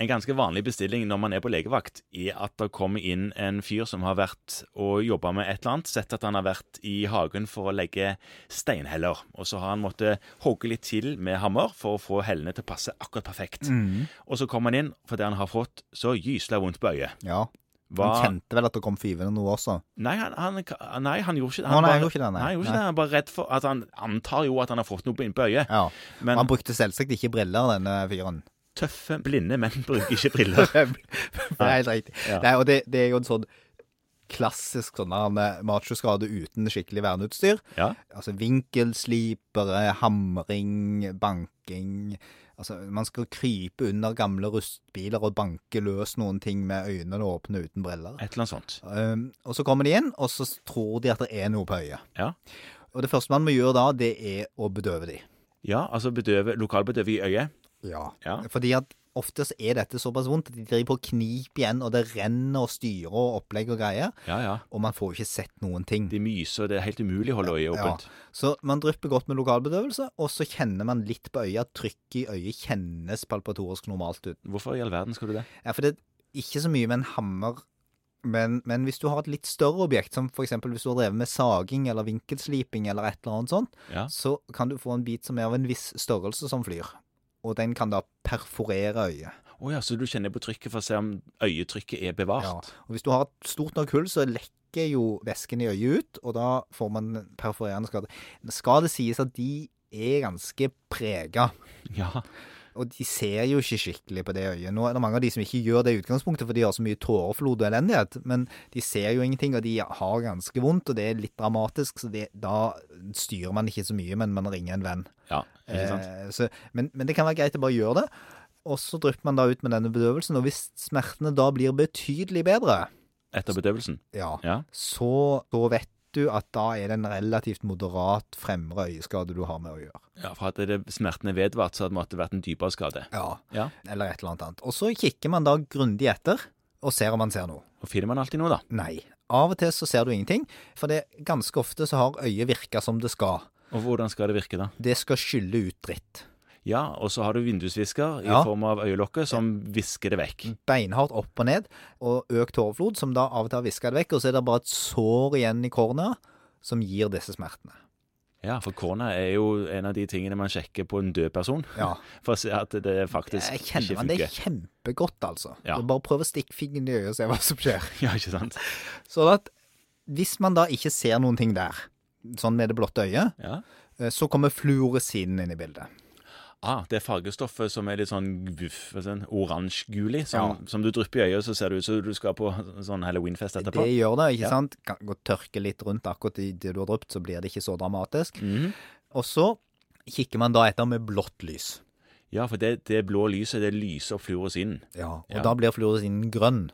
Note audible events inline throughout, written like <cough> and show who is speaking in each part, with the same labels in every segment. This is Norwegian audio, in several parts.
Speaker 1: En ganske vanlig bestilling når man er på legevakt, er at det kommer inn en fyr som har vært og jobba med et eller annet, sett at han har vært i hagen for å legge steinheller, og så har han måttet hogge litt til med hammer for å få hellene til å passe akkurat
Speaker 2: Mm.
Speaker 1: perfekt. Og så kommer han inn, for det han har fått så gysla vondt på øyet.
Speaker 2: Ja.
Speaker 1: Hva-
Speaker 2: Han kjente vel at det kom fyvende noe også.
Speaker 1: Nei, han, han, nei, han gjorde ikke det.
Speaker 2: Å, nei,
Speaker 1: bare-
Speaker 2: han gjorde ikke det,
Speaker 1: Nei,
Speaker 2: nei.
Speaker 1: han gjorde ikke
Speaker 2: Nei.
Speaker 1: det. Han er bare redd for at han antar jo at han har fått noe inn på øyet.
Speaker 2: Ja.
Speaker 1: Men-
Speaker 2: Og han brukte selvsagt ikke briller,
Speaker 1: <laughs>
Speaker 2: denne fyren.
Speaker 1: Tøffe, blinde menn <laughs> bruker ikke
Speaker 2: <laughs>
Speaker 1: briller.
Speaker 2: det er helt riktig.
Speaker 1: Ja.
Speaker 2: Nei, og det, det er jo en sånn klassisk sånn her med machoskade uten skikkelig verneutstyr.
Speaker 1: Ja.
Speaker 2: Altså vinkelslipere, hamring, banking. Altså, man skal krype under gamle rustbiler og banke løs noen ting med øynene åpne uten briller.
Speaker 1: Et eller annet sånt.
Speaker 2: Um, og så kommer de inn, og så tror de at det er noe på øyet.
Speaker 1: Ja.
Speaker 2: Og det første man må gjøre da, det er å bedøve de.
Speaker 1: Ja, altså bedøve, lokalbedøve i øyet.
Speaker 2: Ja.
Speaker 1: Ja.
Speaker 2: Fordi at ofte så er dette såpass vondt at de driver på å knipe igjen, og det renner og styrer og opplegg og greier,
Speaker 1: Ja, ja.
Speaker 2: og man får jo ikke sett noen ting.
Speaker 1: De myser, det er helt umulig å holde øyet åpent.
Speaker 2: Så man drypper godt med lokalbedøvelse, og så kjenner man litt på øyet at trykket i øyet kjennes palpatorisk normalt ut.
Speaker 1: Hvorfor i all verden skal du det?
Speaker 2: Ja, for det er ikke så mye med en hammer, men, men hvis du har et litt større objekt, som f.eks. hvis du har drevet med saging eller vinkelsliping eller et eller annet sånt,
Speaker 1: Ja.
Speaker 2: så kan du få en bit som er av en viss størrelse som flyr. Og den kan da perforere øyet.
Speaker 1: Å ja, så du kjenner på trykket for å se om øyetrykket er bevart?
Speaker 2: Og hvis du har et stort nok hull, så lekker jo væsken i øyet ut, og da får man perforerende skade. Men skal det sies at de er ganske prega.
Speaker 1: Ja.
Speaker 2: Og de ser jo ikke skikkelig på det øyet. Nå er det mange av de som ikke gjør det i utgangspunktet, for de har så mye tåreflod og elendighet. Men de ser jo ingenting, og de har ganske vondt, og det er litt dramatisk. Så det, da styrer man ikke så mye, men man ringer en venn.
Speaker 1: Ja, ikke sant?
Speaker 2: Eh, så, men, men det kan være greit å bare gjøre det. Og så drypper man da ut med denne bedøvelsen, og hvis smertene da blir betydelig bedre,
Speaker 1: Etter bedøvelsen?
Speaker 2: ja,
Speaker 1: Ja.
Speaker 2: så da vet du at da er det en relativt moderat fremre øyeskade du har med å gjøre.
Speaker 1: ja. For hadde det smertene vedvart, så hadde det måtte vært en dypere skade.
Speaker 2: Ja.
Speaker 1: Ja.
Speaker 2: eller et eller annet annet. Og så kikker man da grundig etter, og ser om man ser noe.
Speaker 1: Og finner man alltid noe, da?
Speaker 2: Nei. Av og til så ser du ingenting, for det ganske ofte så har øyet virka som det skal.
Speaker 1: Og hvordan skal det virke, da?
Speaker 2: Det skal skylle ut dritt.
Speaker 1: Ja, og så har du vindusvisker i
Speaker 2: Ja.
Speaker 1: form av øyelokket som visker det vekk.
Speaker 2: Beinhardt opp og ned, og økt hårflod, som da av og til har viska det vekk, og så er det bare et sår igjen i kornea som gir disse smertene.
Speaker 1: Ja, for korna er jo en av de tingene man sjekker på en død person.
Speaker 2: Ja.
Speaker 1: For å se at det faktisk
Speaker 2: Jeg
Speaker 1: ikke
Speaker 2: kjenner man det
Speaker 1: funker.
Speaker 2: kjempegodt, altså.
Speaker 1: Ja.
Speaker 2: Og Bare prøv å stikke fingeren i øyet og se hva som skjer.
Speaker 1: <laughs> Ja, ikke sant?
Speaker 2: Sånn at hvis man da ikke ser noen ting der, sånn med det blotte øyet,
Speaker 1: Ja.
Speaker 2: eh, så kommer fluoresinen inn i bildet.
Speaker 1: Ah, det er fargestoffet som er litt sånn guff, sånn oransje-gulig, som, som du drypper i øyet, så ser det ut som du skal på <laughs> sånn halloweenfest etterpå.
Speaker 2: Det gjør det, ikke
Speaker 1: Ja.
Speaker 2: sant? Kan gå og tørke litt rundt akkurat i det du har drypt, så blir det ikke så dramatisk.
Speaker 1: Mhm.
Speaker 2: Og så kikker man da etter med blått lys.
Speaker 1: Ja, for det, det blå lyset, det lyser opp fluoresinen.
Speaker 2: Og
Speaker 1: Ja.
Speaker 2: da blir fluoresinen grønn.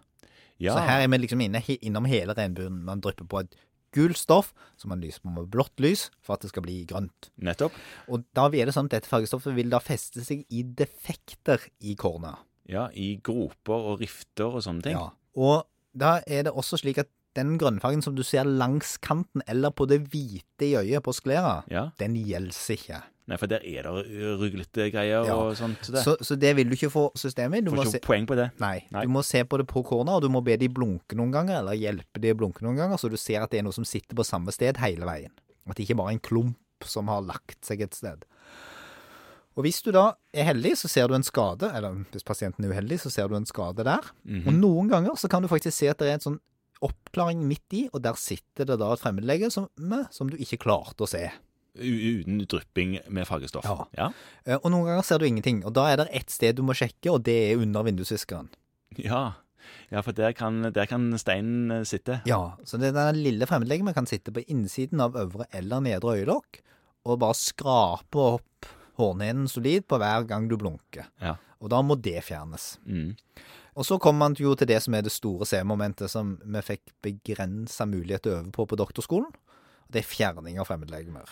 Speaker 1: Ja,
Speaker 2: Så her er vi liksom inne, he- innom hele regnbuen. Man drypper på et gult stoff, som man lyser på med blått lys, for at det skal bli grønt.
Speaker 1: nettopp.
Speaker 2: Og da er det sånn at dette fargestoffet vil da feste seg i defekter i kornet.
Speaker 1: Ja, i groper og rifter og sånne ting.
Speaker 2: Ja. Og da er det også slik at den grønnfargen som du ser langs kanten, eller på det hvite i øyet på sklera,
Speaker 1: Ja.
Speaker 2: den gjelder ikke.
Speaker 1: Nei, for der er det øh, ruglete greier
Speaker 2: Ja.
Speaker 1: og sånt. til Det.
Speaker 2: Så, så det vil du ikke få systemet i. Du
Speaker 1: Får
Speaker 2: må
Speaker 1: ikke
Speaker 2: se,
Speaker 1: poeng på det.
Speaker 2: nei,
Speaker 1: Nei.
Speaker 2: du må se på det på korna, og du må be de blunke noen ganger, eller hjelpe de å blunke noen ganger, så du ser at det er noe som sitter på samme sted hele veien. At det ikke bare er en klump som har lagt seg et sted. Og hvis du da er heldig, så ser du en skade, eller hvis pasienten er uheldig, så ser du en skade der.
Speaker 1: Mhm.
Speaker 2: Og noen ganger så kan du faktisk se at det er en sånn oppklaring midt i, og der sitter det da et fremmedlege som, som du ikke klarte å se.
Speaker 1: U- Uten drypping med fargestoff.
Speaker 2: Ja.
Speaker 1: Ja.
Speaker 2: Eh, Og noen ganger ser du ingenting, og da er det ett sted du må sjekke, og det er under vindusviskeren.
Speaker 1: ja. Ja, for der kan, der kan steinen eh, sitte.
Speaker 2: Ja, så det er den lille fremmedlegemet kan sitte på innsiden av øvre eller nedre øyelokk og bare skrape opp hårnenen solid på hver gang du blunker.
Speaker 1: Ja.
Speaker 2: Og da må det fjernes.
Speaker 1: Mm.
Speaker 2: Og så kommer man jo til det som er det store C-momentet som vi fikk begrensa mulighet til å øve på på doktorskolen. og Det er fjerning av fremmedlegemer.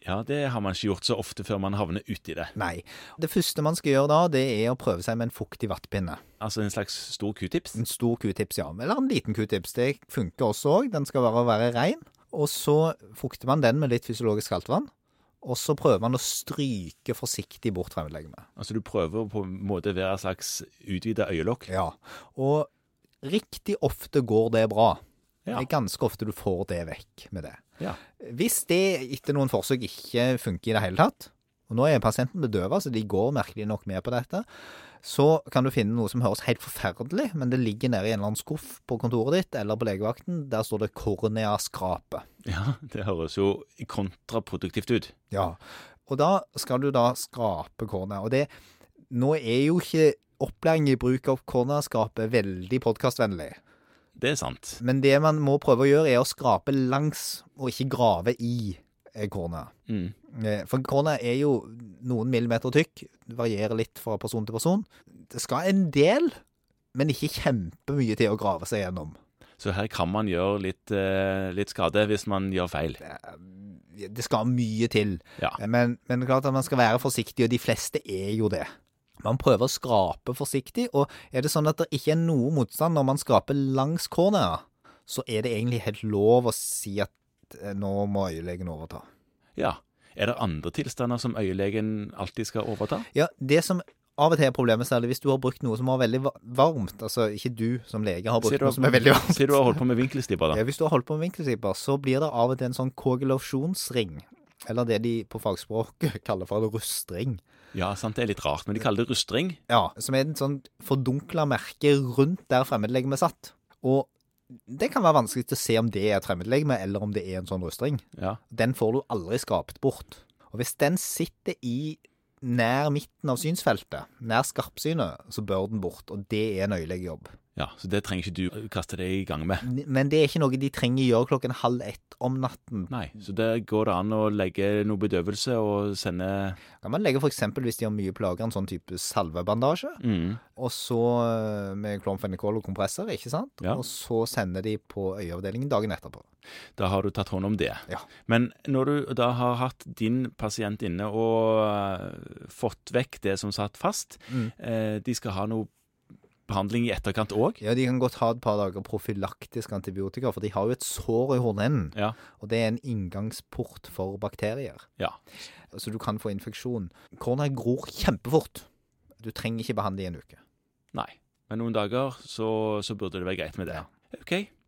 Speaker 1: Ja, det har man ikke gjort så ofte før man havner uti det.
Speaker 2: Nei. Det første man skal gjøre da, det er å prøve seg med en fuktig vattpinne.
Speaker 1: Altså en slags stor q-tips.
Speaker 2: En stor q-tips, ja. Eller en liten q-tips. Det funker også òg. Den skal bare være rein. Og så fukter man den med litt fysiologisk kaldt vann. Og så prøver man å stryke forsiktig bort fremmedlegemet.
Speaker 1: Altså du prøver på en måte å være et slags utvida øyelokk?
Speaker 2: Ja. Og riktig ofte går det bra.
Speaker 1: Ja.
Speaker 2: Det er ganske ofte du får det vekk med det.
Speaker 1: Ja.
Speaker 2: Hvis det etter noen forsøk ikke funker i det hele tatt, og nå er pasienten bedøva, så de går merkelig nok med på dette, så kan du finne noe som høres helt forferdelig, men det ligger nede i en eller annen skuff på kontoret ditt eller på legevakten. Der står det korneaskrape.
Speaker 1: ja. <laughs> Det høres jo kontraproduktivt ut.
Speaker 2: Ja. Og da skal du da skrape kornet. Og det Nå er jo ikke opplæring i bruk av korneaskrape veldig podkastvennlig.
Speaker 1: Det er sant.
Speaker 2: Men det man må prøve å gjøre, er å skrape langs, og ikke grave i eh, kornet.
Speaker 1: Mm.
Speaker 2: Eh, For kornet er jo noen millimeter tykk, det varierer litt fra person til person. Det skal en del, men ikke kjempemye til å grave seg gjennom.
Speaker 1: Så her kan man gjøre litt, eh, litt skade hvis man gjør feil.
Speaker 2: Det skal mye til.
Speaker 1: Ja.
Speaker 2: Eh, Men, men det er klart at man skal være forsiktig, og de fleste er jo det. Man prøver å skrape forsiktig, og er det sånn at det ikke er noe motstand når man skraper langs kornet, så er det egentlig helt lov å si at eh, nå må øyelegen overta.
Speaker 1: Ja. Er det andre tilstander som øyelegen alltid skal overta?
Speaker 2: Ja, det som av og til er problemet, særlig hvis du har brukt noe som var veldig va- varmt, altså ikke du som lege har brukt
Speaker 1: Sier du-
Speaker 2: noe som er veldig varmt.
Speaker 1: Sier du har holdt på med vinkelstibber, da.
Speaker 2: Ja, Hvis du har holdt på med vinkelstriper, så blir det av og til en sånn koagulasjonsring. Eller det de på fagspråket <laughs> kaller for en rustring.
Speaker 1: Ja, sant, det er litt rart, men de kaller det rustring.
Speaker 2: Ja, som er en sånn fordunkla merke rundt der fremmedlegemet satt. Og det kan være vanskelig til å se om det er et fremmedlegeme, eller om det er en sånn rustring.
Speaker 1: Ja.
Speaker 2: Den får du aldri skrapt bort. Og hvis den sitter i nær midten av synsfeltet, nær skarpsynet, så bør den bort. Og det er en øyelegejobb.
Speaker 1: ja. Så det trenger ikke du kaste deg i gang med.
Speaker 2: Men det er ikke noe de trenger gjøre klokken halv ett om natten.
Speaker 1: Nei, så der går det an å legge noe bedøvelse og sende
Speaker 2: Kan man legge f.eks. hvis de har mye plager, en sånn type salvebandasje,
Speaker 1: mm.
Speaker 2: og så eh, med klomfenikol og kompressor, ikke sant?
Speaker 1: Ja.
Speaker 2: Og så sender de på øyeavdelingen dagen etterpå.
Speaker 1: Da har du tatt hånd om det.
Speaker 2: Ja.
Speaker 1: Men når du da har hatt din pasient inne og eh, fått vekk det som satt fast,
Speaker 2: Mm.
Speaker 1: eh, de skal ha noe behandling i etterkant òg?
Speaker 2: Ja, De kan godt ha et par dager profylaktisk antibiotika, for de har jo et sår i hornhinnen.
Speaker 1: Ja.
Speaker 2: Og det er en inngangsport for bakterier,
Speaker 1: Ja.
Speaker 2: så du kan få infeksjon. Korna gror kjempefort. Du trenger ikke behandle i en uke.
Speaker 1: Nei. Men noen dager så, så burde det være greit med det.
Speaker 2: Ja.
Speaker 1: OK.